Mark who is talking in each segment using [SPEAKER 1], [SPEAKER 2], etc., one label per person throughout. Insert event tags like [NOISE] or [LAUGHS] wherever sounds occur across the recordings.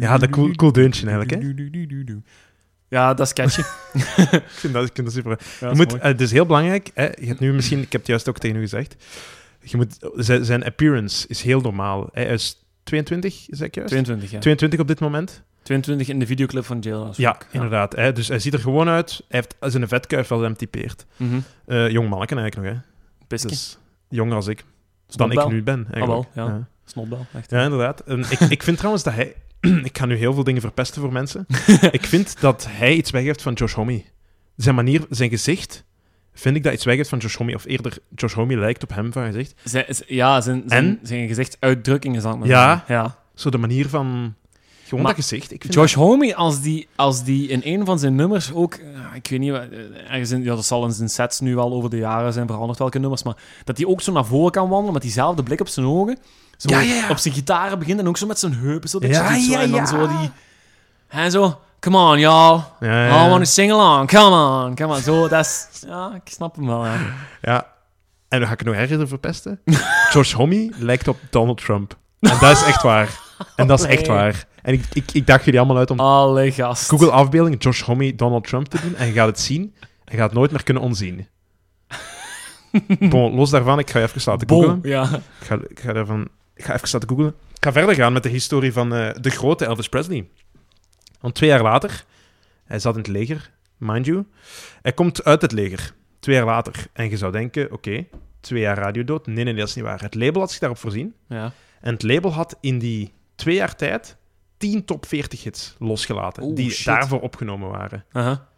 [SPEAKER 1] Ja, dat cool, cool deuntje eigenlijk, hè?
[SPEAKER 2] Ja, dat is
[SPEAKER 1] [LAUGHS]
[SPEAKER 2] catchy.
[SPEAKER 1] Ik vind dat, ik vind dat super.
[SPEAKER 2] Ja,
[SPEAKER 1] Je
[SPEAKER 2] dat is
[SPEAKER 1] moet,
[SPEAKER 2] mooi.
[SPEAKER 1] eh, het is heel belangrijk, hè? Je hebt nu misschien, ik heb het juist ook tegen u gezegd, je moet, zijn zijn appearance is heel normaal. Hij is 22, zeg ik juist?
[SPEAKER 2] 22, ja.
[SPEAKER 1] 22 op dit moment.
[SPEAKER 2] 22 in de videoclip van Jailhouse
[SPEAKER 1] Ja,
[SPEAKER 2] Rock.
[SPEAKER 1] inderdaad. Hè? Dus hij ziet er gewoon uit. Hij heeft zijn vetkuif wel hem typeert.
[SPEAKER 2] Mhm.
[SPEAKER 1] Eh, jong manneken eigenlijk nog, hè.
[SPEAKER 2] Piskie.
[SPEAKER 1] Dus jonger als ik. Dus Dan
[SPEAKER 2] Snotbel.
[SPEAKER 1] ik nu ben, eigenlijk.
[SPEAKER 2] Ah, wel, ja.
[SPEAKER 1] ja.
[SPEAKER 2] Snotbel, echt.
[SPEAKER 1] Ja, inderdaad. En ik, ik vind trouwens dat hij... [CLEARS THROAT] ik ga nu heel veel dingen verpesten voor
[SPEAKER 2] [LAUGHS]
[SPEAKER 1] mensen. ik vind dat hij iets weggeeft van Josh Homme. Zijn manier, zijn gezicht... Vind ik dat iets weggeeft van Josh Homme. Of eerder, Josh Homme lijkt op hem van gezicht.
[SPEAKER 2] Zijn, is- ja, zijn, zijn,
[SPEAKER 1] En?
[SPEAKER 2] zijn gezichtsuitdrukkingen, zal ik maar
[SPEAKER 1] Ja.
[SPEAKER 2] zeggen. ja.
[SPEAKER 1] Zo de manier van... Gewoon
[SPEAKER 2] Maar
[SPEAKER 1] dat gezicht. Ik vind
[SPEAKER 2] Josh Homme, als die, als die in een van zijn nummers ook, eh, ik weet niet, wat, eh, ergens in, ja, dat zal in zijn sets nu al over de jaren zijn veranderd welke nummers, maar dat hij ook zo naar voren kan wandelen met diezelfde blik op zijn ogen, zo
[SPEAKER 1] Ja, ja, ja.
[SPEAKER 2] op zijn gitaren begint en ook zo met zijn heupen, zo, dat
[SPEAKER 1] Ja,
[SPEAKER 2] je ziet zo
[SPEAKER 1] ja,
[SPEAKER 2] en dan
[SPEAKER 1] ja.
[SPEAKER 2] zo die, en zo, come on y'all,
[SPEAKER 1] dat- Ja,
[SPEAKER 2] I
[SPEAKER 1] ja,
[SPEAKER 2] want to sing along, come on, come on, zo, dat is, ja, ik snap hem wel, ja.
[SPEAKER 1] Ja. En dan ga ik het nog erger
[SPEAKER 2] [LAUGHS]
[SPEAKER 1] verpesten. George Homme lijkt op Donald Trump. En dat is echt waar. En dat is echt
[SPEAKER 2] Nee.
[SPEAKER 1] waar. En ik, ik, ik daag jullie allemaal uit om
[SPEAKER 2] Alle gast.
[SPEAKER 1] Google afbeelding George Homme Donald Trump te doen. En je gaat het zien. En je gaat het nooit meer kunnen onzien. Bon, los daarvan, ik ga even laten
[SPEAKER 2] Bol,
[SPEAKER 1] googlen.
[SPEAKER 2] ja.
[SPEAKER 1] Ik ga, ik, ga daarvan, ik ga even laten googlen. Ik ga verder gaan met de historie van eh, de grote Elvis Presley. Want twee jaar later, hij zat in het leger, mind you. Hij komt uit het leger, twee jaar later. En je zou denken, oké, twee jaar radiodood. Nee, nee, nee, dat is niet waar. Het label had zich daarop voorzien.
[SPEAKER 2] ja.
[SPEAKER 1] En het label had in die twee jaar tijd 10 top 40 hits losgelaten.
[SPEAKER 2] Oeh,
[SPEAKER 1] die
[SPEAKER 2] shit.
[SPEAKER 1] daarvoor opgenomen waren.
[SPEAKER 2] Aha.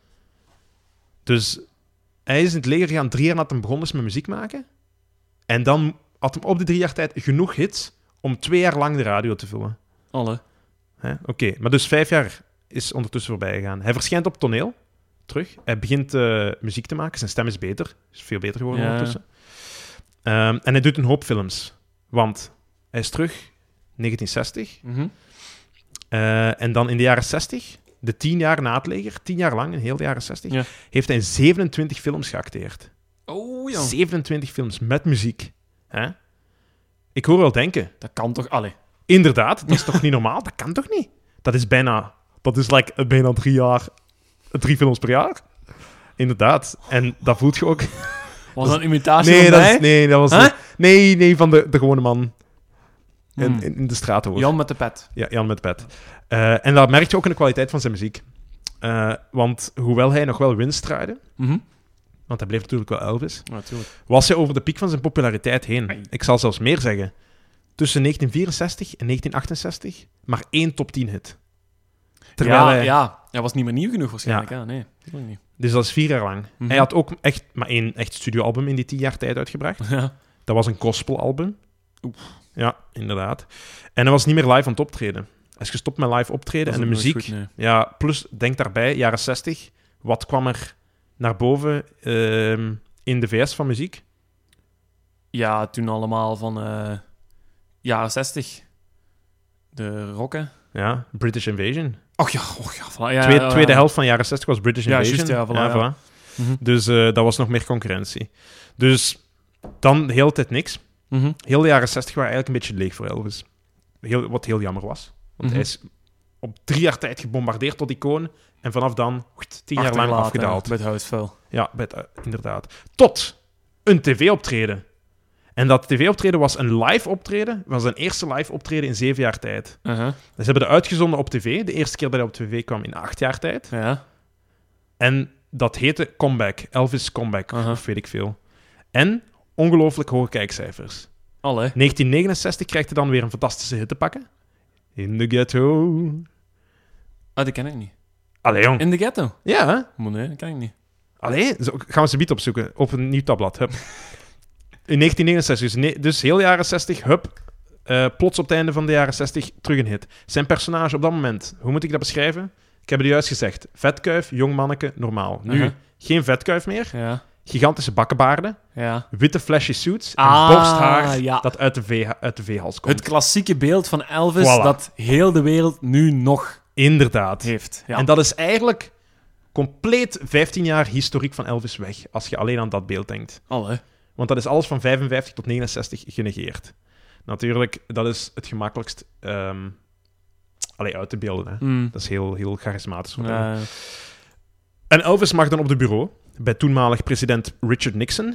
[SPEAKER 1] Dus hij is in het leger gegaan drie jaar nadat hij begonnen is met muziek maken. En dan had hij op die drie jaar tijd genoeg hits om twee jaar lang de radio te vullen.
[SPEAKER 2] Alle.
[SPEAKER 1] Hè? Oké, maar dus vijf jaar is ondertussen voorbij gegaan. Hij verschijnt op toneel, terug. Hij begint eh, muziek te maken. Zijn stem is beter. Is veel beter geworden
[SPEAKER 2] Ja.
[SPEAKER 1] ondertussen. Ehm, en hij doet een hoop films. Want hij is terug, 1960.
[SPEAKER 2] Mhm.
[SPEAKER 1] Eh, en dan in de jaren 60, de tien jaar na het leger, tien jaar lang, in heel de jaren 60,
[SPEAKER 2] Ja.
[SPEAKER 1] heeft hij in 27 films geacteerd.
[SPEAKER 2] Oh ja.
[SPEAKER 1] 27 films met muziek. Hè? Ik hoor wel denken,
[SPEAKER 2] Dat kan toch, alle.
[SPEAKER 1] inderdaad, dat is toch niet normaal? Dat kan toch niet? Dat is bijna, dat is like, eh, bijna drie jaar, eh, drie films per jaar. Inderdaad. En dat voelt je ook.
[SPEAKER 2] Was dat een imitatie
[SPEAKER 1] Nee,
[SPEAKER 2] van
[SPEAKER 1] dat,
[SPEAKER 2] mij?
[SPEAKER 1] is, nee, dat was
[SPEAKER 2] Huh?
[SPEAKER 1] niet- Nee, nee, van de, de gewone man in,
[SPEAKER 2] Hmm.
[SPEAKER 1] in, in de straat hoor.
[SPEAKER 2] Jan met de pet.
[SPEAKER 1] Ja, Jan met pet. Eh, en dat merk je ook in de kwaliteit van zijn muziek. Eh, want hoewel hij nog wel winst draaide,
[SPEAKER 2] Mhm.
[SPEAKER 1] want hij bleef natuurlijk wel Elvis,
[SPEAKER 2] Natuurlijk.
[SPEAKER 1] was hij over de piek van zijn populariteit heen.
[SPEAKER 2] Ai.
[SPEAKER 1] Ik zal zelfs meer zeggen. Tussen 1964 en 1968 maar één top 10 hit. Terwijl
[SPEAKER 2] ja,
[SPEAKER 1] hij,
[SPEAKER 2] ja, hij was niet meer nieuw genoeg waarschijnlijk. Ja, nee. Tuurlijk
[SPEAKER 1] [LAUGHS]
[SPEAKER 2] niet.
[SPEAKER 1] Dus dat is vier jaar lang.
[SPEAKER 2] Mhm.
[SPEAKER 1] Hij had ook echt maar één echt studioalbum in die tien jaar tijd uitgebracht.
[SPEAKER 2] Ja.
[SPEAKER 1] Dat was een gospelalbum. Ja, inderdaad. En hij was niet meer live aan het optreden. Hij is gestopt met live optreden
[SPEAKER 2] Dat
[SPEAKER 1] en
[SPEAKER 2] is
[SPEAKER 1] de
[SPEAKER 2] ook nooit
[SPEAKER 1] muziek...
[SPEAKER 2] goed, nee.
[SPEAKER 1] Ja, plus denk daarbij, jaren 60, wat kwam er naar boven ehm, in de VS van muziek?
[SPEAKER 2] Ja, toen allemaal van eh jaren 60. De rocken.
[SPEAKER 1] Ja, British Invasion.
[SPEAKER 2] Och ja, och ja. voilà. ja
[SPEAKER 1] Twee-
[SPEAKER 2] ja, ja.
[SPEAKER 1] Tweede helft van jaren 60 was British
[SPEAKER 2] Ja,
[SPEAKER 1] Invasion.
[SPEAKER 2] juist, ja, voilà, ja. eh, Mhm.
[SPEAKER 1] Dus eh, dat was nog meer concurrentie. Dus dan de hele tijd niks.
[SPEAKER 2] Mhm.
[SPEAKER 1] Heel de jaren 60 waren eigenlijk een beetje leeg voor Elvis. Heel, wat heel jammer was. Want
[SPEAKER 2] Mhm.
[SPEAKER 1] hij is op drie jaar tijd gebombardeerd tot icoon. En vanaf dan oeit, tien jaar lang
[SPEAKER 2] Achtergelaten,
[SPEAKER 1] afgedaald.
[SPEAKER 2] Bij het huisvuil.
[SPEAKER 1] Ja, met, eh, inderdaad. Tot een tv-optreden. En dat tv-optreden was een live optreden, was zijn eerste live optreden in zeven jaar tijd. Dus
[SPEAKER 2] Aha.
[SPEAKER 1] Ze hebben het uitgezonden op tv, de eerste keer dat hij op tv kwam in acht jaar tijd.
[SPEAKER 2] Ja.
[SPEAKER 1] En dat heette Comeback, Elvis Comeback,
[SPEAKER 2] Aha.
[SPEAKER 1] of weet ik veel. En ongelooflijk hoge kijkcijfers.
[SPEAKER 2] Alle.
[SPEAKER 1] 1969 krijgt hij dan weer een fantastische hit te pakken. In the ghetto.
[SPEAKER 2] Ah, die ken ik niet.
[SPEAKER 1] Allee, jong.
[SPEAKER 2] In de ghetto.
[SPEAKER 1] Ja, hè?
[SPEAKER 2] Maar nee, dat ken ik niet.
[SPEAKER 1] Allee, zo- gaan we ze biet opzoeken op een nieuw tabblad. Hup. In 1969, dus, ne- dus heel jaren 60, hup. Eh, plots op het einde van de jaren 60, terug een hit. Zijn personage op dat moment, hoe moet ik dat beschrijven? Ik heb het juist gezegd. Vetkuif, jong manneke, normaal. Nu,
[SPEAKER 2] Aha.
[SPEAKER 1] geen vetkuif meer.
[SPEAKER 2] Ja.
[SPEAKER 1] Gigantische bakkenbaarden,
[SPEAKER 2] Ja.
[SPEAKER 1] witte flashy suits en
[SPEAKER 2] Ah,
[SPEAKER 1] borsthaar
[SPEAKER 2] ja.
[SPEAKER 1] dat uit de, vee- uit de veehals komt.
[SPEAKER 2] Het klassieke beeld van Elvis
[SPEAKER 1] Voilà.
[SPEAKER 2] dat heel de wereld nu nog
[SPEAKER 1] Inderdaad.
[SPEAKER 2] heeft. Ja.
[SPEAKER 1] En dat is eigenlijk compleet 15 jaar historiek van Elvis weg, als je alleen aan dat beeld denkt.
[SPEAKER 2] Alle.
[SPEAKER 1] Want dat is alles van 55 tot 69 genegeerd. Natuurlijk, dat is het gemakkelijkst ehm allee, uit te beelden. Hè.
[SPEAKER 2] Mm.
[SPEAKER 1] Dat is heel, heel charismatisch. voor hem.
[SPEAKER 2] Ja, ja.
[SPEAKER 1] En Elvis mag dan op de bureau bij toenmalig president Richard Nixon,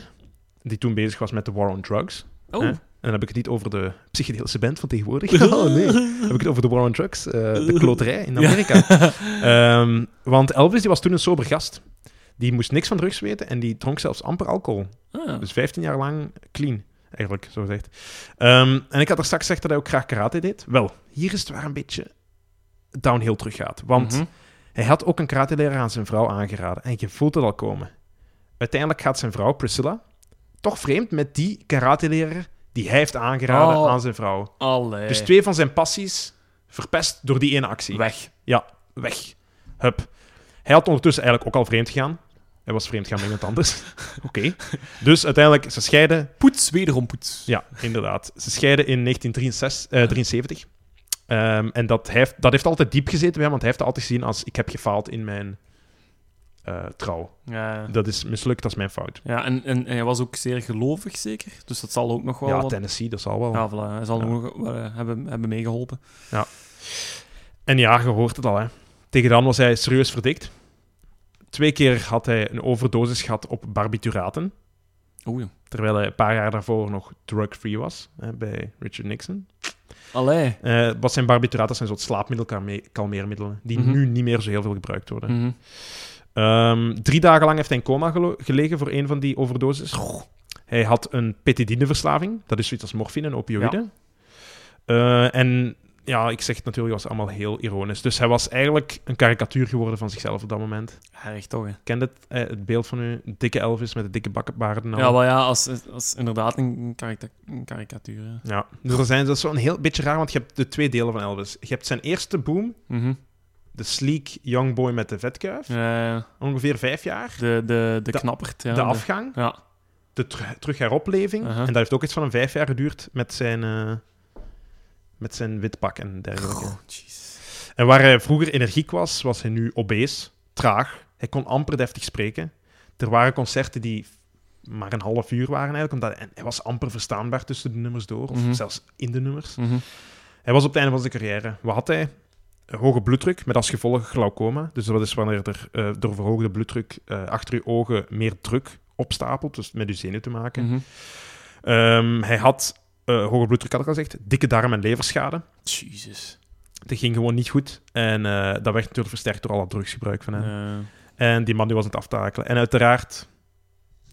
[SPEAKER 1] die toen bezig was met de war on drugs.
[SPEAKER 2] Oh.
[SPEAKER 1] Hè? En dan heb ik het niet over de psychedelische band van tegenwoordig.
[SPEAKER 2] [LAUGHS]
[SPEAKER 1] Oh, nee. Dan heb ik het over de war on drugs, eh, de kloterij in
[SPEAKER 2] Ja.
[SPEAKER 1] Amerika. Ehm, want Elvis die was toen een sober gast. Die moest niks van drugs weten en die dronk zelfs amper alcohol.
[SPEAKER 2] [LAUGHS] Ah.
[SPEAKER 1] Dus 15 jaar lang clean, eigenlijk, zo gezegd. Ehm, en ik had er straks gezegd dat hij ook graag karate deed. Wel, hier is het waar een beetje downhill terug gaat. Want
[SPEAKER 2] Mhm.
[SPEAKER 1] hij had ook een karateleraar aan zijn vrouw aangeraden. En je voelt het al komen. Uiteindelijk gaat zijn vrouw, Priscilla, toch vreemd met die karateleraar die hij heeft aangeraden
[SPEAKER 2] Oh. Eh.
[SPEAKER 1] aan zijn vrouw.
[SPEAKER 2] Allee.
[SPEAKER 1] Dus twee van zijn passies verpest door die ene actie.
[SPEAKER 2] Weg.
[SPEAKER 1] Weg. Hup. Hij had ondertussen eigenlijk ook al vreemd gegaan. Hij was vreemd gaan met iemand
[SPEAKER 2] [LAUGHS]
[SPEAKER 1] anders. Oké. Dus uiteindelijk, ze scheiden.
[SPEAKER 2] Poets, wederom poets.
[SPEAKER 1] Ja, inderdaad. Ze scheiden in 1973. Ehm, en dat heeft, dat heeft altijd diep gezeten bij hem, want hij heeft het altijd gezien als ik heb gefaald in mijn eh, trouw.
[SPEAKER 2] Ja.
[SPEAKER 1] Dat is mislukt, dat is mijn fout.
[SPEAKER 2] Ja, en, en hij was ook zeer gelovig, zeker. Dus dat zal ook nog wel...
[SPEAKER 1] ja,
[SPEAKER 2] wat...
[SPEAKER 1] Tennessee, dat zal wel.
[SPEAKER 2] ja, voilà. Hij zal
[SPEAKER 1] Ja.
[SPEAKER 2] nog wel eh, hebben, hebben meegeholpen.
[SPEAKER 1] En ja, je hoort het al. Hè. Tegen dan was hij serieus verdikt. Twee keer had hij een overdosis gehad op barbituraten,
[SPEAKER 2] Oei.
[SPEAKER 1] terwijl hij een paar jaar daarvoor nog drug-free was hè, bij Richard Nixon.
[SPEAKER 2] Allee.
[SPEAKER 1] Eh, wat zijn barbituraten? Dat zijn soort slaapmiddelkalmeermiddelen, die
[SPEAKER 2] Mhm.
[SPEAKER 1] nu niet meer zo heel veel gebruikt worden.
[SPEAKER 2] Mhm.
[SPEAKER 1] Ehm, drie dagen lang heeft hij in coma gelo- gelegen voor een van die overdoses. Hij had een petidineverslaving. Dat is zoiets als morfine en opioïden. Eh, en ja, ik zeg het natuurlijk, was allemaal heel ironisch. Dus hij was eigenlijk een karikatuur geworden van zichzelf op dat moment.
[SPEAKER 2] Erg toch, hè?
[SPEAKER 1] Kent het, eh, het beeld van u? Dikke Elvis met de dikke bakkenbaarden. en al.
[SPEAKER 2] Ja, maar ja, als, als inderdaad een, karika- een karikatuur. hè.
[SPEAKER 1] ja. Dus dat, zijn, dat is zo'n heel beetje raar, want je hebt de twee delen van Elvis. Je hebt zijn eerste boom,
[SPEAKER 2] Mhm.
[SPEAKER 1] de sleek young boy met de vetkuif.
[SPEAKER 2] Ja, ja.
[SPEAKER 1] Ongeveer vijf jaar.
[SPEAKER 2] Eh, de, de, de knappert. Ja,
[SPEAKER 1] de afgang.
[SPEAKER 2] Ja.
[SPEAKER 1] de ter- terug heropleving.
[SPEAKER 2] Aha.
[SPEAKER 1] En dat heeft ook iets van een vijf jaar geduurd met zijn, eh, met zijn wit pak en dergelijke.
[SPEAKER 2] Oh, jeez.
[SPEAKER 1] En waar hij vroeger energiek was, was hij nu obese, traag. Hij kon amper deftig spreken. Er waren concerten die maar een half uur waren eigenlijk, omdat hij, hij was amper verstaanbaar tussen de nummers door, of
[SPEAKER 2] Mhm.
[SPEAKER 1] zelfs in de nummers.
[SPEAKER 2] Mhm.
[SPEAKER 1] Hij was op het einde van zijn carrière. Wat had hij? Een Hoge bloeddruk, met als gevolg glaucoma. Dus dat is wanneer er eh, door verhoogde bloeddruk eh, achter je ogen meer druk opstapelt, dus met je zenuw te maken.
[SPEAKER 2] Mhm.
[SPEAKER 1] Ehm, hij had eh hoge bloeddruk, had ik al gezegd, dikke darm- en leverschade.
[SPEAKER 2] Jezus.
[SPEAKER 1] Dat ging gewoon niet goed. En eh, dat werd natuurlijk versterkt door al dat drugsgebruik van hem.
[SPEAKER 2] Ja.
[SPEAKER 1] En die man die was aan het aftakelen. En uiteraard,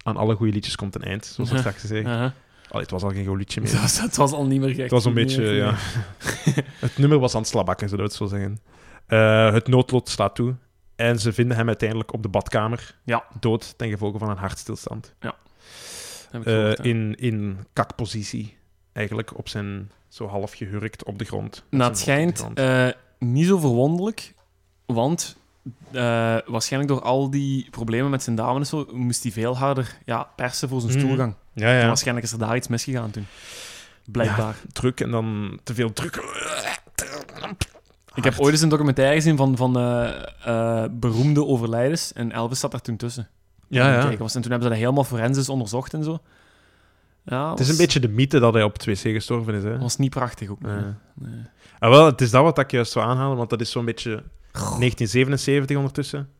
[SPEAKER 1] aan alle goede liedjes komt een eind, zoals we
[SPEAKER 2] Ja.
[SPEAKER 1] straks gezegd.
[SPEAKER 2] Aha. [LAUGHS]
[SPEAKER 1] Allee, het was al geen goed liedje
[SPEAKER 2] Het
[SPEAKER 1] meer.
[SPEAKER 2] eh. was, het was al niet meer gek.
[SPEAKER 1] Het was een beetje, ja. [LAUGHS]
[SPEAKER 2] [LAUGHS]
[SPEAKER 1] het nummer was aan het slabakken, zullen we het zo zeggen. Eh, het noodlot slaat toe. En ze vinden hem uiteindelijk op de badkamer.
[SPEAKER 2] Ja.
[SPEAKER 1] Dood ten gevolge van een hartstilstand.
[SPEAKER 2] Heb ik
[SPEAKER 1] Eh,
[SPEAKER 2] gehoord, hè.
[SPEAKER 1] in, in kakpositie, eigenlijk, op zijn zo half gehurkt op de grond.
[SPEAKER 2] Nou,
[SPEAKER 1] Met
[SPEAKER 2] het
[SPEAKER 1] zijn hoofd
[SPEAKER 2] schijnt
[SPEAKER 1] op de grond.
[SPEAKER 2] eh, niet zo verwonderlijk, want eh, waarschijnlijk door al die problemen met zijn darmen en zo, moest hij veel harder ja, persen voor zijn
[SPEAKER 1] Mhm.
[SPEAKER 2] stoelgang.
[SPEAKER 1] ja,
[SPEAKER 2] En
[SPEAKER 1] ja.
[SPEAKER 2] Waarschijnlijk is er daar iets misgegaan toen. Blijkbaar.
[SPEAKER 1] druk en dan te veel druk.
[SPEAKER 2] ik heb ooit eens een documentaire gezien van, van eh, eh, beroemde overlijdens en Elvis zat daar toen tussen.
[SPEAKER 1] Ja,
[SPEAKER 2] Aan het
[SPEAKER 1] ja.
[SPEAKER 2] kijken was. En toen hebben ze dat helemaal forensisch onderzocht en zo. Ja,
[SPEAKER 1] Het is een beetje de mythe dat hij op 2C gestorven is. Hè? Eh.
[SPEAKER 2] was niet prachtig ook.
[SPEAKER 1] Ja.
[SPEAKER 2] Nee.
[SPEAKER 1] Ah, wel, het is dat wat ik juist zou aanhalen, want dat is zo'n beetje 1977 ondertussen.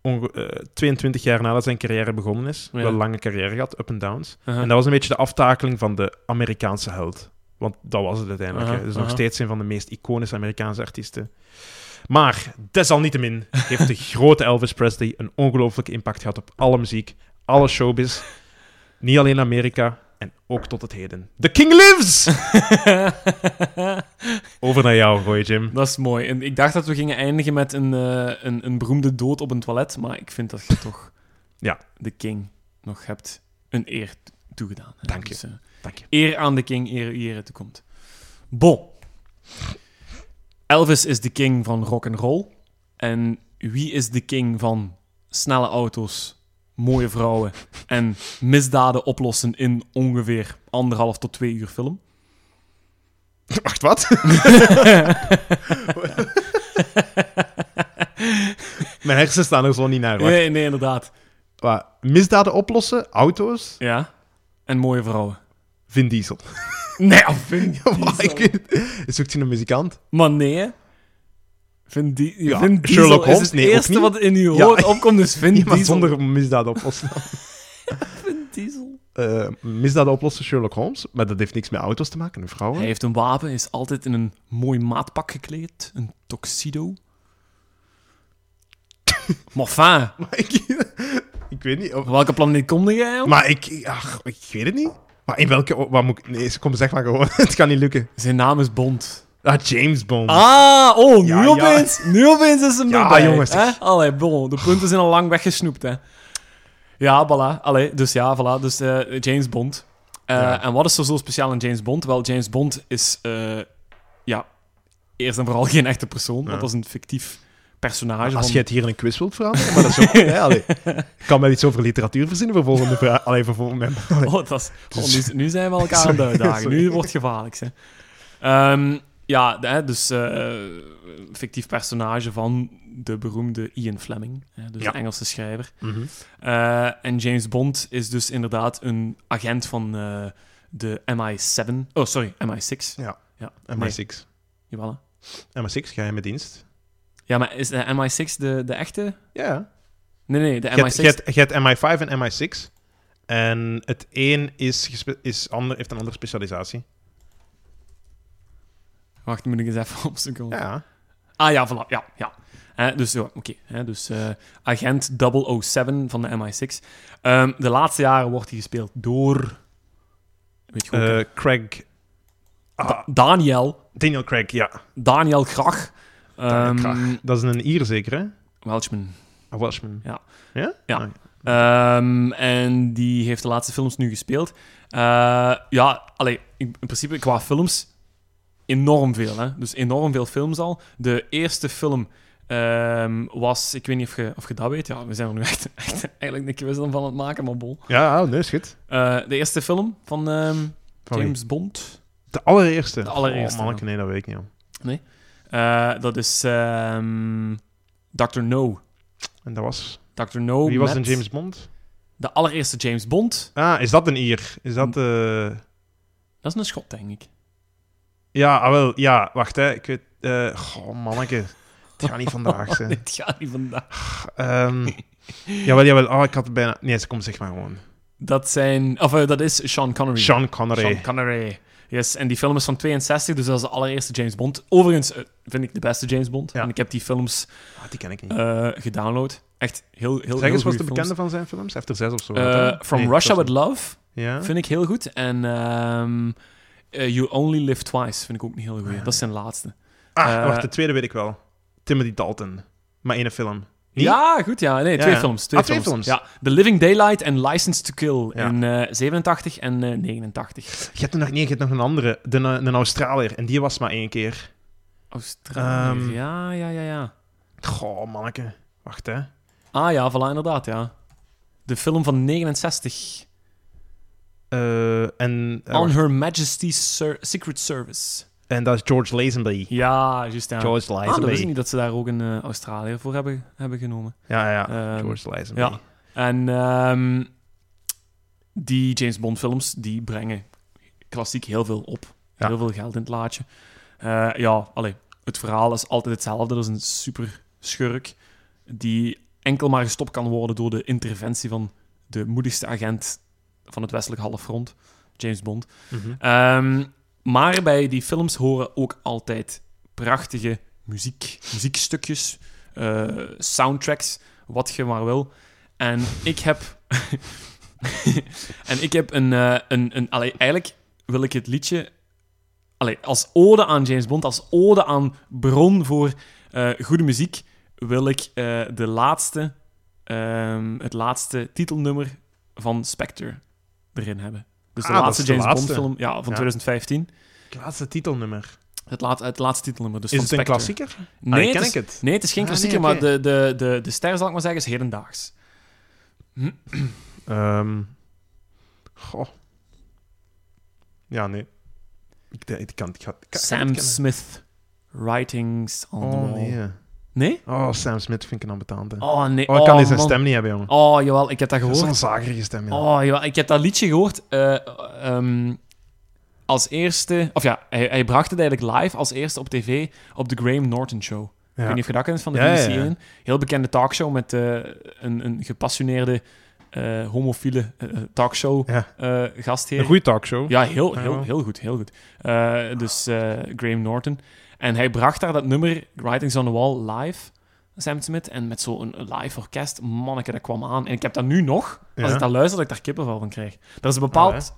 [SPEAKER 1] Onge- eh, 22 jaar nadat zijn carrière begonnen is.
[SPEAKER 2] Ja.
[SPEAKER 1] Wel een lange carrière gehad, up en downs.
[SPEAKER 2] Aha.
[SPEAKER 1] En dat was een beetje de aftakeling van de Amerikaanse held. Want dat was het uiteindelijk.
[SPEAKER 2] Aha,
[SPEAKER 1] hè. Dus nog
[SPEAKER 2] aha.
[SPEAKER 1] steeds een van de meest iconische Amerikaanse artiesten. Maar desalniettemin heeft de grote Elvis Presley een ongelooflijke impact gehad op alle muziek, alle showbiz. Niet alleen in Amerika en ook tot het heden. The King lives!
[SPEAKER 2] [LAUGHS]
[SPEAKER 1] Over naar jou, Roy Jim.
[SPEAKER 2] Dat is mooi. En ik dacht dat we gingen eindigen met een, eh, een, een beroemde dood op een toilet, maar ik vind dat
[SPEAKER 1] [LAUGHS]
[SPEAKER 2] je toch
[SPEAKER 1] Ja.
[SPEAKER 2] de king nog hebt een eer t- toegedaan. hè.
[SPEAKER 1] Dank je.
[SPEAKER 2] eh,
[SPEAKER 1] Dank je.
[SPEAKER 2] eer aan de king, eer wie eer toekomt. Bon. Elvis is de king van rock and roll. En wie is de king van snelle auto's, mooie vrouwen en misdaden oplossen in ongeveer anderhalf tot twee uur film?
[SPEAKER 1] Wacht, wat? [LAUGHS] Mijn hersenen staan er zo niet naar. Wacht.
[SPEAKER 2] Nee, nee, inderdaad.
[SPEAKER 1] Wat, misdaden oplossen, auto's,
[SPEAKER 2] Ja. En mooie vrouwen.
[SPEAKER 1] Vin Diesel.
[SPEAKER 2] [LAUGHS] Nee, oh, Vin
[SPEAKER 1] Wat, ik weet het. Zoekt hij een muzikant?
[SPEAKER 2] Maar nee. Vin, Di
[SPEAKER 1] Ja,
[SPEAKER 2] Vin Diesel
[SPEAKER 1] Sherlock
[SPEAKER 2] is
[SPEAKER 1] Holmes,
[SPEAKER 2] het
[SPEAKER 1] nee, ook
[SPEAKER 2] eerste
[SPEAKER 1] niet.
[SPEAKER 2] wat in uw
[SPEAKER 1] [LAUGHS] Ja.
[SPEAKER 2] hoofd opkomt, is Vin
[SPEAKER 1] Iemand
[SPEAKER 2] Diesel.
[SPEAKER 1] zonder misdaden oplossen. [LAUGHS]
[SPEAKER 2] Vin Diesel.
[SPEAKER 1] Eh, misdaden oplossen, Sherlock Holmes. Maar dat heeft niks met auto's te maken, en vrouwen.
[SPEAKER 2] Hij heeft een wapen, is altijd in een mooi maatpak gekleed. Een tuxedo. maar fijn,
[SPEAKER 1] [LAUGHS] [LAUGHS] Maar ik, ik weet niet. of-
[SPEAKER 2] op welke planeet kom jij op?
[SPEAKER 1] maar ik, ach, ik weet het niet. Maar in welke... Wat moet ik, nee, kom zeg maar gewoon. [LAUGHS] het kan niet lukken.
[SPEAKER 2] Zijn naam is Bond.
[SPEAKER 1] Ah, James Bond.
[SPEAKER 2] Ah, oh, nu
[SPEAKER 1] Ja, ja.
[SPEAKER 2] opeens. Nu opeens is hem
[SPEAKER 1] Ja,
[SPEAKER 2] erbij.
[SPEAKER 1] jongens.
[SPEAKER 2] Hè? Allee, bon, de punten zijn al lang weggesnoept, hè. Ja, voilà. Allee, dus ja, voilà. Dus eh, James Bond. Eh,
[SPEAKER 1] Ja.
[SPEAKER 2] En wat is er zo speciaal aan James Bond? Wel, James Bond is, eh, ja, eerst en vooral [LAUGHS] geen echte persoon.
[SPEAKER 1] Ja.
[SPEAKER 2] Want dat is een fictief personage.
[SPEAKER 1] Als
[SPEAKER 2] van-
[SPEAKER 1] je het hier in een quiz wilt veranderen, maar dat
[SPEAKER 2] [LAUGHS]
[SPEAKER 1] is ook... hè, allee. Ik kan wel iets over literatuur verzinnen voor volgende vraag. Allee, voor volgende... allee.
[SPEAKER 2] [LAUGHS] Oh, dat is, oh,
[SPEAKER 1] Dus-
[SPEAKER 2] nu, nu
[SPEAKER 1] [LAUGHS]
[SPEAKER 2] zijn we elkaar aan het
[SPEAKER 1] Sorry,
[SPEAKER 2] uitdagen. Nu
[SPEAKER 1] sorry.
[SPEAKER 2] wordt het gevaarlijk. Hè. Ehm, ja, hè, dus eh, fictief personage van de beroemde Ian Fleming. Hè, dus
[SPEAKER 1] Ja.
[SPEAKER 2] een Engelse schrijver.
[SPEAKER 1] Mhm.
[SPEAKER 2] Eh, en James Bond is dus inderdaad een agent van eh, de MI7. Oh, sorry, MI6.
[SPEAKER 1] Ja.
[SPEAKER 2] ja nee,
[SPEAKER 1] MI6.
[SPEAKER 2] jawel, hè.
[SPEAKER 1] MI6, geheime dienst.
[SPEAKER 2] Ja, maar is de MI6 de, de echte?
[SPEAKER 1] Ja.
[SPEAKER 2] Nee, nee, de
[SPEAKER 1] Je hebt-
[SPEAKER 2] MI6.
[SPEAKER 1] je hebt- je hebt MI5 en MI6. En het een is, gespe- is ander, heeft een andere specialisatie.
[SPEAKER 2] Wacht, moet ik eens even [LAUGHS] opzoeken. want-
[SPEAKER 1] Ja.
[SPEAKER 2] Ah ja, voilà, ja, ja. Hè, dus ja, oké. hè, dus eh, agent 007 van de MI6. Ehm, de laatste jaren wordt hij gespeeld door... Weet je goed, hè?
[SPEAKER 1] Eh, Craig... Ah,
[SPEAKER 2] Da- Daniel.
[SPEAKER 1] Daniel Craig, ja.
[SPEAKER 2] Daniel Grach.
[SPEAKER 1] Daniel
[SPEAKER 2] Ehm,
[SPEAKER 1] Craig. Dat is een Ier zeker, hè?
[SPEAKER 2] Welshman.
[SPEAKER 1] Een Welshman.
[SPEAKER 2] Ja.
[SPEAKER 1] Ja?
[SPEAKER 2] Ja.
[SPEAKER 1] Ah,
[SPEAKER 2] Ehm, en die heeft de laatste films nu gespeeld. Eh, ja, allee, in in principe qua films enorm veel. Hè? Dus enorm veel films al. De eerste film ehm, was, ik weet niet of je, of je dat weet. Ja, we zijn er nu echt, [LAUGHS] echt eigenlijk een quiz van aan het maken, maar bol.
[SPEAKER 1] ja, ah, nee, is goed.
[SPEAKER 2] Eh, de eerste film van ehm,
[SPEAKER 1] Van
[SPEAKER 2] James Bond.
[SPEAKER 1] wie? De allereerste.
[SPEAKER 2] De allereerste,
[SPEAKER 1] Oh, manneke, nee, dat weet ik niet. joh.
[SPEAKER 2] Eh, dat is ehm, Dr. No.
[SPEAKER 1] En dat was...
[SPEAKER 2] Dr. No
[SPEAKER 1] wie was
[SPEAKER 2] met
[SPEAKER 1] een James Bond?
[SPEAKER 2] De allereerste James Bond.
[SPEAKER 1] Ah, is dat een Ier? Is dat... eh,
[SPEAKER 2] Dat is een schot, denk ik. [LAUGHS]
[SPEAKER 1] Ja, ah, wel, ja, wacht, hè. Ik weet... eh, Goh, manneke. Het gaat niet vandaag zijn.
[SPEAKER 2] [LAUGHS] Dit gaat niet vandaag.
[SPEAKER 1] Ehm jawel, jawel. Ah, ik had het bijna... Nee, ze komt zeg maar gewoon.
[SPEAKER 2] Dat zijn... Of eh, dat is Sean Connery.
[SPEAKER 1] Sean Connery.
[SPEAKER 2] Sean Connery. Yes, en die film is van 62, dus dat is de allereerste James Bond. Overigens eh, vind ik de beste James Bond.
[SPEAKER 1] Ja.
[SPEAKER 2] En ik heb die films
[SPEAKER 1] Ah, die ken ik niet.
[SPEAKER 2] eh, gedownload. Echt heel, heel,
[SPEAKER 1] zeg
[SPEAKER 2] heel
[SPEAKER 1] eens, was
[SPEAKER 2] goede
[SPEAKER 1] de
[SPEAKER 2] films.
[SPEAKER 1] bekende van zijn films? Hij heeft er zes of zo.
[SPEAKER 2] Eh,
[SPEAKER 1] gehad, hè?
[SPEAKER 2] From
[SPEAKER 1] Nee,
[SPEAKER 2] Russia
[SPEAKER 1] dat
[SPEAKER 2] With
[SPEAKER 1] is-
[SPEAKER 2] Love
[SPEAKER 1] Ja?
[SPEAKER 2] vind ik heel goed. En ehm, eh, You Only Live Twice vind ik ook een heel goed.
[SPEAKER 1] Ah, ja.
[SPEAKER 2] Dat is zijn laatste.
[SPEAKER 1] Ah,
[SPEAKER 2] eh,
[SPEAKER 1] wacht, de tweede weet ik wel. Timothy Dalton. Maar één film. Niet?
[SPEAKER 2] Ja, goed, ja. Nee,
[SPEAKER 1] Ja,
[SPEAKER 2] twee
[SPEAKER 1] ja.
[SPEAKER 2] films. Twee
[SPEAKER 1] Ah, twee films.
[SPEAKER 2] Ja, The Living Daylight en License to Kill
[SPEAKER 1] Ja.
[SPEAKER 2] in eh, 87 en eh, 89.
[SPEAKER 1] Je hebt er nog, nee, je hebt nog een andere. De, een Australier. En die was maar één keer.
[SPEAKER 2] Australië.
[SPEAKER 1] Ehm.
[SPEAKER 2] ja, ja, ja, ja.
[SPEAKER 1] Goh, manneke. Wacht, hè.
[SPEAKER 2] Ah ja, voilà, inderdaad, ja. De film van 69.
[SPEAKER 1] Eh, en, eh,
[SPEAKER 2] On
[SPEAKER 1] wacht.
[SPEAKER 2] Her Majesty's Ser- Secret Service.
[SPEAKER 1] en dat is George Lazenby.
[SPEAKER 2] Ja, juist ja.
[SPEAKER 1] George
[SPEAKER 2] Ah, dan wist ik
[SPEAKER 1] Lazenby.
[SPEAKER 2] niet dat ze daar ook een eh, Australiër voor hebben, hebben genomen.
[SPEAKER 1] ja, ja.
[SPEAKER 2] Ehm,
[SPEAKER 1] George Lazenby.
[SPEAKER 2] ja. En ehm, die James Bond films, die brengen klassiek heel veel op.
[SPEAKER 1] Ja.
[SPEAKER 2] Heel veel geld in het laadje. Eh, ja, allee, het verhaal is altijd hetzelfde. Dat is een super schurk die enkel maar gestopt kan worden door de interventie van de moedigste agent van het westelijk halfrond, James Bond.
[SPEAKER 1] Mhm.
[SPEAKER 2] Ehm, maar bij die films horen ook altijd prachtige muziek, muziekstukjes, eh, soundtracks, wat je maar wil. En ik heb. [LAUGHS] en ik heb een. eh, een, een allee, eigenlijk wil ik het liedje. Allee, als ode aan James Bond, als ode aan bron voor eh, goede muziek, wil ik eh, de laatste, ehm, het laatste titelnummer van Spectre erin hebben. Dus de
[SPEAKER 1] Ah, dat
[SPEAKER 2] laatste
[SPEAKER 1] is de
[SPEAKER 2] James
[SPEAKER 1] laatste.
[SPEAKER 2] Bond film ja, van
[SPEAKER 1] Ja.
[SPEAKER 2] 2015.
[SPEAKER 1] Het laatste titelnummer.
[SPEAKER 2] Het, laat, het laatste titelnummer. Dus
[SPEAKER 1] Is
[SPEAKER 2] van
[SPEAKER 1] het een
[SPEAKER 2] Spectre.
[SPEAKER 1] klassieker?
[SPEAKER 2] Nee,
[SPEAKER 1] Ah,
[SPEAKER 2] het
[SPEAKER 1] ken
[SPEAKER 2] is-
[SPEAKER 1] ik het.
[SPEAKER 2] Nee, het is geen
[SPEAKER 1] Ah,
[SPEAKER 2] klassieker,
[SPEAKER 1] nee, oké.
[SPEAKER 2] maar de, de, de, de ster, zal ik maar zeggen, is hedendaags.
[SPEAKER 1] Ehm, goh. Ja, nee. Ik, ik kan het ik ga- ik kan- ik
[SPEAKER 2] Sam
[SPEAKER 1] kan-
[SPEAKER 2] Smith, Writings on the
[SPEAKER 1] Oh,
[SPEAKER 2] Wall.
[SPEAKER 1] nee.
[SPEAKER 2] Nee,
[SPEAKER 1] hè.
[SPEAKER 2] Nee?
[SPEAKER 1] Oh, Sam Smith vind ik een ambetante. Oh,
[SPEAKER 2] Oh, nee.
[SPEAKER 1] ik kan deze
[SPEAKER 2] man.
[SPEAKER 1] stem niet hebben, jongen.
[SPEAKER 2] Oh, jawel, ik heb dat
[SPEAKER 1] Dat is
[SPEAKER 2] gehoord.
[SPEAKER 1] Zo'n zagerige stem, ja.
[SPEAKER 2] Oh, jawel, ik heb dat liedje gehoord eh, ehm, als eerste... Of ja, hij, hij bracht het eigenlijk live als eerste op tv op de Graham Norton Show.
[SPEAKER 1] Ja.
[SPEAKER 2] Ik weet niet of je dat kent, van de
[SPEAKER 1] Ja,
[SPEAKER 2] BBC
[SPEAKER 1] ja, ja.
[SPEAKER 2] één. Heel bekende talkshow met eh, een, een gepassioneerde eh, homofiele eh, talkshow
[SPEAKER 1] Ja.
[SPEAKER 2] eh, gastheer.
[SPEAKER 1] Een goede talkshow.
[SPEAKER 2] Ja, heel,
[SPEAKER 1] Ja.
[SPEAKER 2] heel, heel goed. Heel goed. Eh, dus eh, Graham Norton. En hij bracht daar dat nummer Writings on the Wall live, Sam Smith. En met zo'n live orkest, manneke, dat kwam aan. En ik heb dat nu nog, als
[SPEAKER 1] Ja.
[SPEAKER 2] ik dat luister, dat ik daar kippenvel van krijg. Er is een bepaald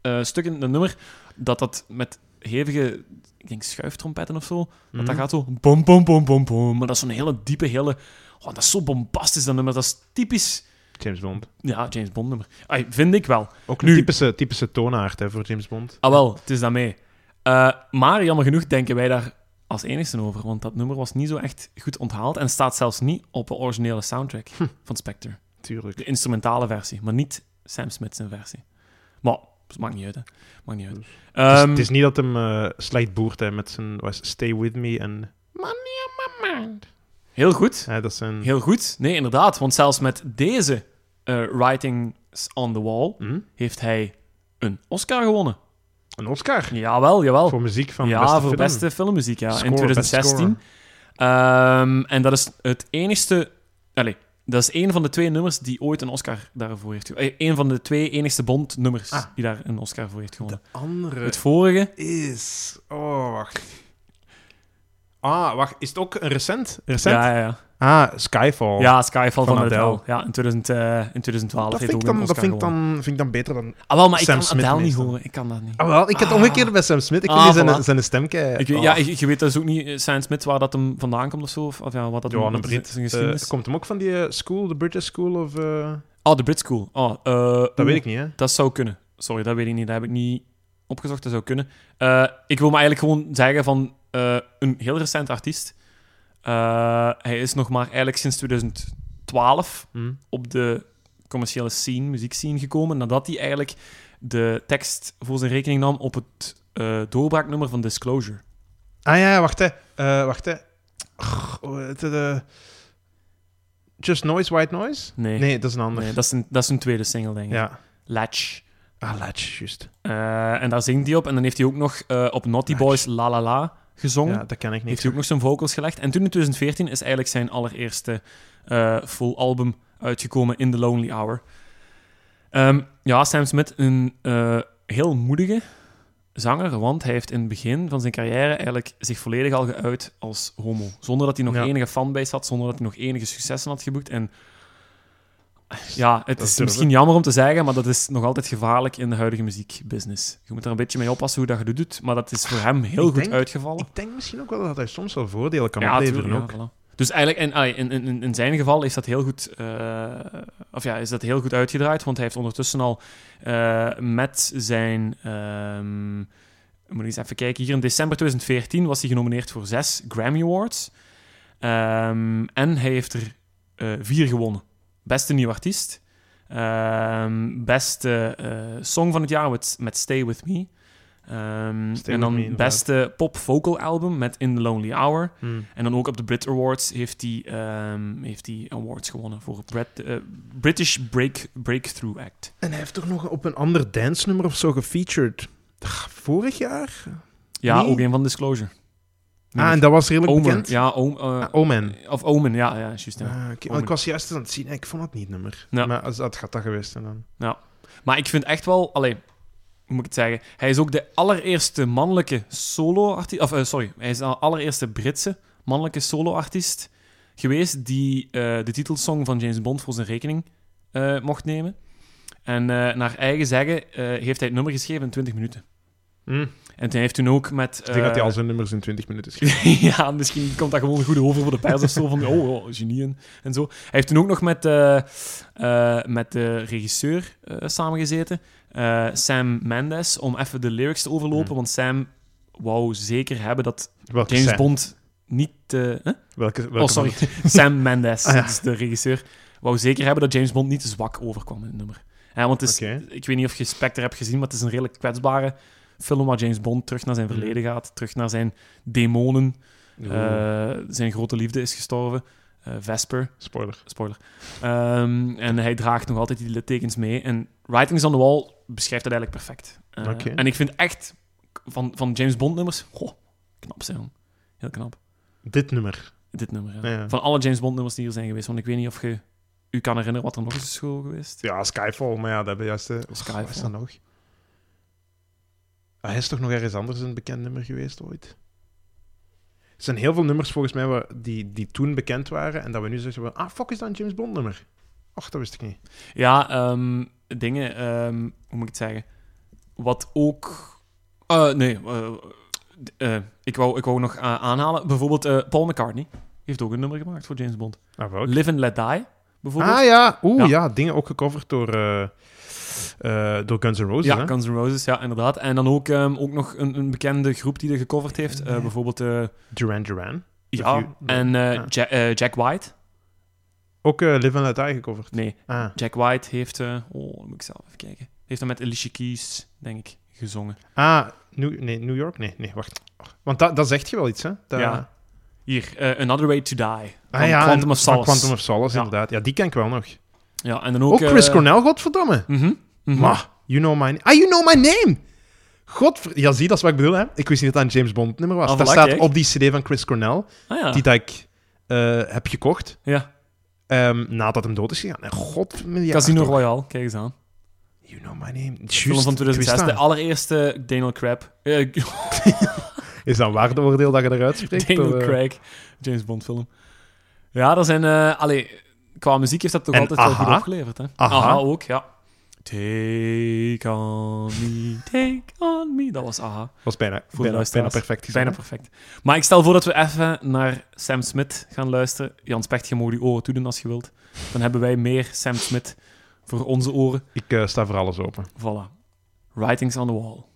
[SPEAKER 2] eh, stuk in dat nummer dat dat met hevige, ik denk schuiftrompetten of zo,
[SPEAKER 1] Mhm.
[SPEAKER 2] want dat gaat zo bom, bom, bom, bom, bom. Maar dat is zo'n hele diepe, hele... Oh, dat is zo bombastisch, dat nummer. Dat is typisch...
[SPEAKER 1] James Bond.
[SPEAKER 2] Ja, James Bond nummer. Ai, vind ik wel.
[SPEAKER 1] Ook
[SPEAKER 2] Nu-
[SPEAKER 1] een typische, typische toonaard hè, voor James Bond.
[SPEAKER 2] Ah wel, het is daarmee. Eh maar jammer genoeg denken wij daar als enigsten over, want dat nummer was niet zo echt goed onthaald en staat zelfs niet op de originele soundtrack
[SPEAKER 1] Hm.
[SPEAKER 2] van Spectre.
[SPEAKER 1] Tuurlijk.
[SPEAKER 2] De instrumentale versie, maar niet Sam Smith zijn versie. Maar, het maakt niet uit, hè. Maakt niet uit.
[SPEAKER 1] het, is,
[SPEAKER 2] Ehm,
[SPEAKER 1] het is niet dat hem eh, slecht boert hè, met zijn was het Stay With Me en... Money on my mind.
[SPEAKER 2] Heel goed.
[SPEAKER 1] Ja, dat zijn...
[SPEAKER 2] Heel goed. Nee, inderdaad, want zelfs met deze eh, Writings on the Wall
[SPEAKER 1] Hm?
[SPEAKER 2] heeft hij een Oscar gewonnen.
[SPEAKER 1] Een Oscar.
[SPEAKER 2] Jawel, jawel.
[SPEAKER 1] Voor muziek van
[SPEAKER 2] Oh. ja,
[SPEAKER 1] beste
[SPEAKER 2] voor
[SPEAKER 1] film.
[SPEAKER 2] beste filmmuziek, ja.
[SPEAKER 1] Score,
[SPEAKER 2] in
[SPEAKER 1] best
[SPEAKER 2] 2016. Ehm, en dat is het enigste... Allee, dat is één van de twee nummers die ooit een Oscar daarvoor heeft gewonnen. Eén van de twee enigste Bond-nummers
[SPEAKER 1] Ah. eh,
[SPEAKER 2] die daar een Oscar voor heeft gewonnen.
[SPEAKER 1] De andere
[SPEAKER 2] Het vorige...
[SPEAKER 1] is... Oh, wacht. Ah, wacht. Is het ook een recent? Recent?
[SPEAKER 2] Ja, ja, ja.
[SPEAKER 1] Ah, Skyfall.
[SPEAKER 2] ja, Skyfall van,
[SPEAKER 1] Van
[SPEAKER 2] Adele.
[SPEAKER 1] Adele.
[SPEAKER 2] Ja, in, 2000, eh, in 2012
[SPEAKER 1] dat
[SPEAKER 2] heeft
[SPEAKER 1] vind
[SPEAKER 2] ook
[SPEAKER 1] ik dan,
[SPEAKER 2] een
[SPEAKER 1] dat
[SPEAKER 2] Oscar
[SPEAKER 1] vind ik
[SPEAKER 2] gewonnen.
[SPEAKER 1] dan, vind ik dan beter dan...
[SPEAKER 2] Ah, wel, maar ik
[SPEAKER 1] Sam
[SPEAKER 2] kan
[SPEAKER 1] Smith
[SPEAKER 2] Adele niet
[SPEAKER 1] meestal.
[SPEAKER 2] horen. Ik kan dat niet.
[SPEAKER 1] Ah, wel. Ik heb het
[SPEAKER 2] Ah.
[SPEAKER 1] omgekeerd bij Sam Smith. Ik
[SPEAKER 2] Ah,
[SPEAKER 1] vind die
[SPEAKER 2] voilà.
[SPEAKER 1] zijn, zijn stem kei-
[SPEAKER 2] Ik, weet-
[SPEAKER 1] Ah.
[SPEAKER 2] Ja, je, je weet dus ook niet, eh, Sam Smith, waar dat hem vandaan komt of zo. Of, of ja, wat dat
[SPEAKER 1] Ja, een
[SPEAKER 2] wat
[SPEAKER 1] Brit.
[SPEAKER 2] zijn
[SPEAKER 1] Eh,
[SPEAKER 2] geschiedenis.
[SPEAKER 1] komt hem ook van die eh, school, de British School? Of, eh,
[SPEAKER 2] Oh, de Brit School. Oh, eh,
[SPEAKER 1] Dat
[SPEAKER 2] oeh,
[SPEAKER 1] weet ik niet, hè?
[SPEAKER 2] Dat zou kunnen. Sorry, dat weet ik niet. Dat heb ik niet opgezocht. Dat zou kunnen. Eh, ik wil me eigenlijk gewoon zeggen van eh, een heel recent artiest. Eh, hij is nog maar eigenlijk sinds 2012
[SPEAKER 1] Hm.
[SPEAKER 2] op de commerciële scene, muziekscene gekomen. Nadat hij eigenlijk de tekst voor zijn rekening nam op het eh, doorbraaknummer van Disclosure.
[SPEAKER 1] Ah ja, ja, wacht hè. Eh, wacht hè. Och, hoe heet het, eh, Just Noise, White Noise?
[SPEAKER 2] Nee,
[SPEAKER 1] Nee, dat is een ander.
[SPEAKER 2] Nee, dat, is een, dat is een tweede single, denk ik.
[SPEAKER 1] Ja.
[SPEAKER 2] Latch.
[SPEAKER 1] Ah, Latch, juist.
[SPEAKER 2] Eh, en daar zingt hij op. En dan heeft hij ook nog eh, op Naughty
[SPEAKER 1] Latch.
[SPEAKER 2] Boys La La La gezongen.
[SPEAKER 1] Ja, dat ken ik
[SPEAKER 2] heeft
[SPEAKER 1] niet.
[SPEAKER 2] hij ook nog zijn vocals gelegd. En toen in 2014 is eigenlijk zijn allereerste eh, full album uitgekomen in The Lonely Hour. Ehm, ja, Sam Smith, een eh, heel moedige zanger, want hij heeft in het begin van zijn carrière eigenlijk zich volledig al geuit als homo. Zonder dat hij nog
[SPEAKER 1] Ja.
[SPEAKER 2] enige fanbase had, zonder dat hij nog enige successen had geboekt. En ja, het
[SPEAKER 1] Dat
[SPEAKER 2] is
[SPEAKER 1] durven.
[SPEAKER 2] misschien jammer om te zeggen, maar dat is nog altijd gevaarlijk in de huidige muziekbusiness. Je moet er een beetje mee oppassen hoe dat je dat doet, maar dat is voor hem heel
[SPEAKER 1] Ah, Ik
[SPEAKER 2] goed
[SPEAKER 1] denk-
[SPEAKER 2] uitgevallen
[SPEAKER 1] Ik denk misschien ook wel dat hij soms wel voordelen kan opleveren.
[SPEAKER 2] tuurlijk,
[SPEAKER 1] ook.
[SPEAKER 2] ja, voilà. Dus eigenlijk, en, ah, in, in- in, in zijn geval is dat heel goed, eh, of ja, is dat heel goed uitgedraaid, want hij heeft ondertussen al eh, met zijn, ehm, moet ik eens even kijken, hier in december 2014 was hij genomineerd voor zes Grammy Awards. Ehm, en hij heeft er eh, vier gewonnen. Beste nieuw artiest, ehm, beste eh, song van het jaar met, met Stay With Me. Ehm,
[SPEAKER 1] Stay
[SPEAKER 2] en
[SPEAKER 1] With
[SPEAKER 2] dan
[SPEAKER 1] Me, inderdaad.
[SPEAKER 2] beste pop vocal album met In The Lonely Hour.
[SPEAKER 1] Hm.
[SPEAKER 2] En dan ook op de Brit Awards heeft hij ehm, heeft hij awards gewonnen voor Brit- eh, British Break, Breakthrough Act.
[SPEAKER 1] En hij heeft toch nog op een ander dansnummer of zo gefeatured? Ach, vorig jaar?
[SPEAKER 2] Ja,
[SPEAKER 1] Nee.
[SPEAKER 2] ook een van Disclosure.
[SPEAKER 1] Ah, en dat was redelijk
[SPEAKER 2] Omen.
[SPEAKER 1] bekend?
[SPEAKER 2] Ja, Omen. eh,
[SPEAKER 1] Ah, Omen.
[SPEAKER 2] Of Omen, ja, ja, juist. Ja.
[SPEAKER 1] Ah, oké. Want
[SPEAKER 2] Omen.
[SPEAKER 1] ik was juist eens aan het zien. Ik vond het niet nummer.
[SPEAKER 2] Ja.
[SPEAKER 1] Maar als, dat gaat dat geweest zijn dan.
[SPEAKER 2] Maar ik vind echt wel, allee, hoe moet ik het zeggen? Hij is ook de allereerste mannelijke solo-artiest, of eh, sorry, hij is de allereerste Britse mannelijke solo-artiest geweest die eh, de titelsong van James Bond voor zijn rekening eh, mocht nemen. En eh, naar eigen zeggen eh, heeft hij het nummer geschreven in 20 minuten.
[SPEAKER 1] Hm.
[SPEAKER 2] En hij heeft toen ook met...
[SPEAKER 1] Ik denk dat hij al
[SPEAKER 2] eh,
[SPEAKER 1] zijn nummers in 20 minuten schreef.
[SPEAKER 2] ja, misschien komt dat gewoon goed over voor de pers of zo. Van, oh, oh, genieën en zo. Hij heeft toen ook nog met, eh, eh, met de regisseur eh, samengezeten, eh, Sam Mendes, om even de lyrics te overlopen.
[SPEAKER 1] Hmm.
[SPEAKER 2] Want Sam wou zeker hebben dat
[SPEAKER 1] Welke
[SPEAKER 2] [LAUGHS] James
[SPEAKER 1] zijn?
[SPEAKER 2] Bond niet... eh, hè?
[SPEAKER 1] Welke, welke
[SPEAKER 2] Oh,
[SPEAKER 1] van
[SPEAKER 2] sorry.
[SPEAKER 1] de-
[SPEAKER 2] Sam Mendes,
[SPEAKER 1] [LAUGHS] Ah, ja.
[SPEAKER 2] dat is de regisseur, wou zeker hebben dat James Bond niet te zwak overkwam in het nummer. Ja, want het is,
[SPEAKER 1] Oké.
[SPEAKER 2] ik weet niet of je Spectre hebt gezien, maar het is een redelijk kwetsbare film waar James Bond terug naar zijn
[SPEAKER 1] Mm.
[SPEAKER 2] verleden gaat, terug naar zijn demonen. [LAUGHS] Eh, zijn grote liefde is gestorven, eh, Vesper.
[SPEAKER 1] Spoiler.
[SPEAKER 2] Spoiler. Ehm, en hij draagt nog altijd die tekens mee. En Writings on the Wall beschrijft dat eigenlijk perfect. Eh,
[SPEAKER 1] Oké.
[SPEAKER 2] En ik vind echt van, van James Bond nummers... Goh, knap zijn. Heel knap.
[SPEAKER 1] Dit nummer.
[SPEAKER 2] Dit nummer, ja.
[SPEAKER 1] Ja, ja.
[SPEAKER 2] Van alle James Bond nummers die hier zijn geweest. Want ik weet niet of je u kan herinneren wat er nog is is school geweest.
[SPEAKER 1] Ja, Skyfall, maar ja, dat hebben we juist... eh, pff,
[SPEAKER 2] Skyfall.
[SPEAKER 1] Wat is dat nog? Ah, hij is toch nog ergens anders een bekend nummer geweest ooit? Er zijn heel veel nummers volgens mij wa- die, die toen bekend waren en dat we nu zeggen van, ah, fuck, is dat een James Bond nummer? Och, dat wist ik niet.
[SPEAKER 2] Ja, ehm, dingen... ehm, hoe moet ik het zeggen? Wat ook... eh, nee, eh, d- eh, ik, wou, ik wou nog eh, aanhalen. Bijvoorbeeld eh, Paul McCartney heeft ook een nummer gemaakt voor James Bond.
[SPEAKER 1] Ah, welk?
[SPEAKER 2] Live and Let Die, bijvoorbeeld.
[SPEAKER 1] Ah ja, oeh
[SPEAKER 2] Ja.
[SPEAKER 1] ja. dingen ook gecoverd door, eh, eh, door Guns N' Roses.
[SPEAKER 2] Ja,
[SPEAKER 1] hè?
[SPEAKER 2] Guns N' Roses, ja, inderdaad. En dan ook, ehm, ook nog een, een bekende groep die er gecoverd heeft. Eh,
[SPEAKER 1] Nee.
[SPEAKER 2] bijvoorbeeld eh,
[SPEAKER 1] Duran Duran.
[SPEAKER 2] ja,
[SPEAKER 1] you- nee.
[SPEAKER 2] en eh,
[SPEAKER 1] Ja.
[SPEAKER 2] Ja- eh, Jack White.
[SPEAKER 1] Ook eh, Live and Let Die gecoverd.
[SPEAKER 2] Nee,
[SPEAKER 1] Ah.
[SPEAKER 2] Jack White heeft... eh, oh, dan moet ik zelf even kijken. Heeft dan met Alicia Keys, denk ik, gezongen.
[SPEAKER 1] Ah, New, nee, New York? Nee, nee, wacht. Want dat, dat zegt je wel iets, hè? Dat-
[SPEAKER 2] Ja. Hier, eh, Another Way to Die.
[SPEAKER 1] Ah,
[SPEAKER 2] van
[SPEAKER 1] ja,
[SPEAKER 2] Quantum
[SPEAKER 1] en-
[SPEAKER 2] of
[SPEAKER 1] van
[SPEAKER 2] Solace.
[SPEAKER 1] Quantum of Solace,
[SPEAKER 2] Ja.
[SPEAKER 1] inderdaad. Ja, die ken ik wel nog.
[SPEAKER 2] Ja, en dan ook...
[SPEAKER 1] Ook, Chris
[SPEAKER 2] eh,
[SPEAKER 1] Cornell, godverdomme.
[SPEAKER 2] mhm, mhm.
[SPEAKER 1] Ma, you know my name. Ah, you know my name! Godver... Ja, zie, dat is wat ik bedoel, hè? Ik wist niet dat dat een James Bond nummer was.
[SPEAKER 2] Ah,
[SPEAKER 1] Daar
[SPEAKER 2] voilà,
[SPEAKER 1] staat
[SPEAKER 2] kijk.
[SPEAKER 1] op die cd van Chris Cornell,
[SPEAKER 2] Ah, ja.
[SPEAKER 1] die dat ik eh, heb gekocht,
[SPEAKER 2] ja.
[SPEAKER 1] ehm, nadat hem dood is gegaan. En god...
[SPEAKER 2] Casino Royale, kijk eens aan.
[SPEAKER 1] You know my name.
[SPEAKER 2] Film
[SPEAKER 1] Juist,
[SPEAKER 2] van
[SPEAKER 1] ik wist
[SPEAKER 2] 2006, de
[SPEAKER 1] dat.
[SPEAKER 2] allereerste Daniel Craig. eh, [LAUGHS]
[SPEAKER 1] Is dat een waardeoordeel dat je eruit spreekt?
[SPEAKER 2] Daniel
[SPEAKER 1] of, eh?
[SPEAKER 2] Craig, James Bond film. Ja, dat zijn... eh allee, qua muziek heeft dat toch
[SPEAKER 1] En
[SPEAKER 2] altijd wel goed
[SPEAKER 1] Aha?
[SPEAKER 2] opgeleverd, hè?
[SPEAKER 1] Aha.
[SPEAKER 2] ook, ja. Take on me, take on me. Dat was aha.
[SPEAKER 1] was bijna,
[SPEAKER 2] de
[SPEAKER 1] bijna, bijna
[SPEAKER 2] luisteraars.
[SPEAKER 1] perfect gezien.
[SPEAKER 2] nou Bijna perfect. Maar ik stel voor dat we even naar Sam Smith gaan luisteren. Jans Pecht, je mag die oren toedoen als je wilt. Dan hebben wij meer Sam Smith voor onze oren.
[SPEAKER 1] Ik eh, sta voor alles open.
[SPEAKER 2] Voilà. Writings on the wall.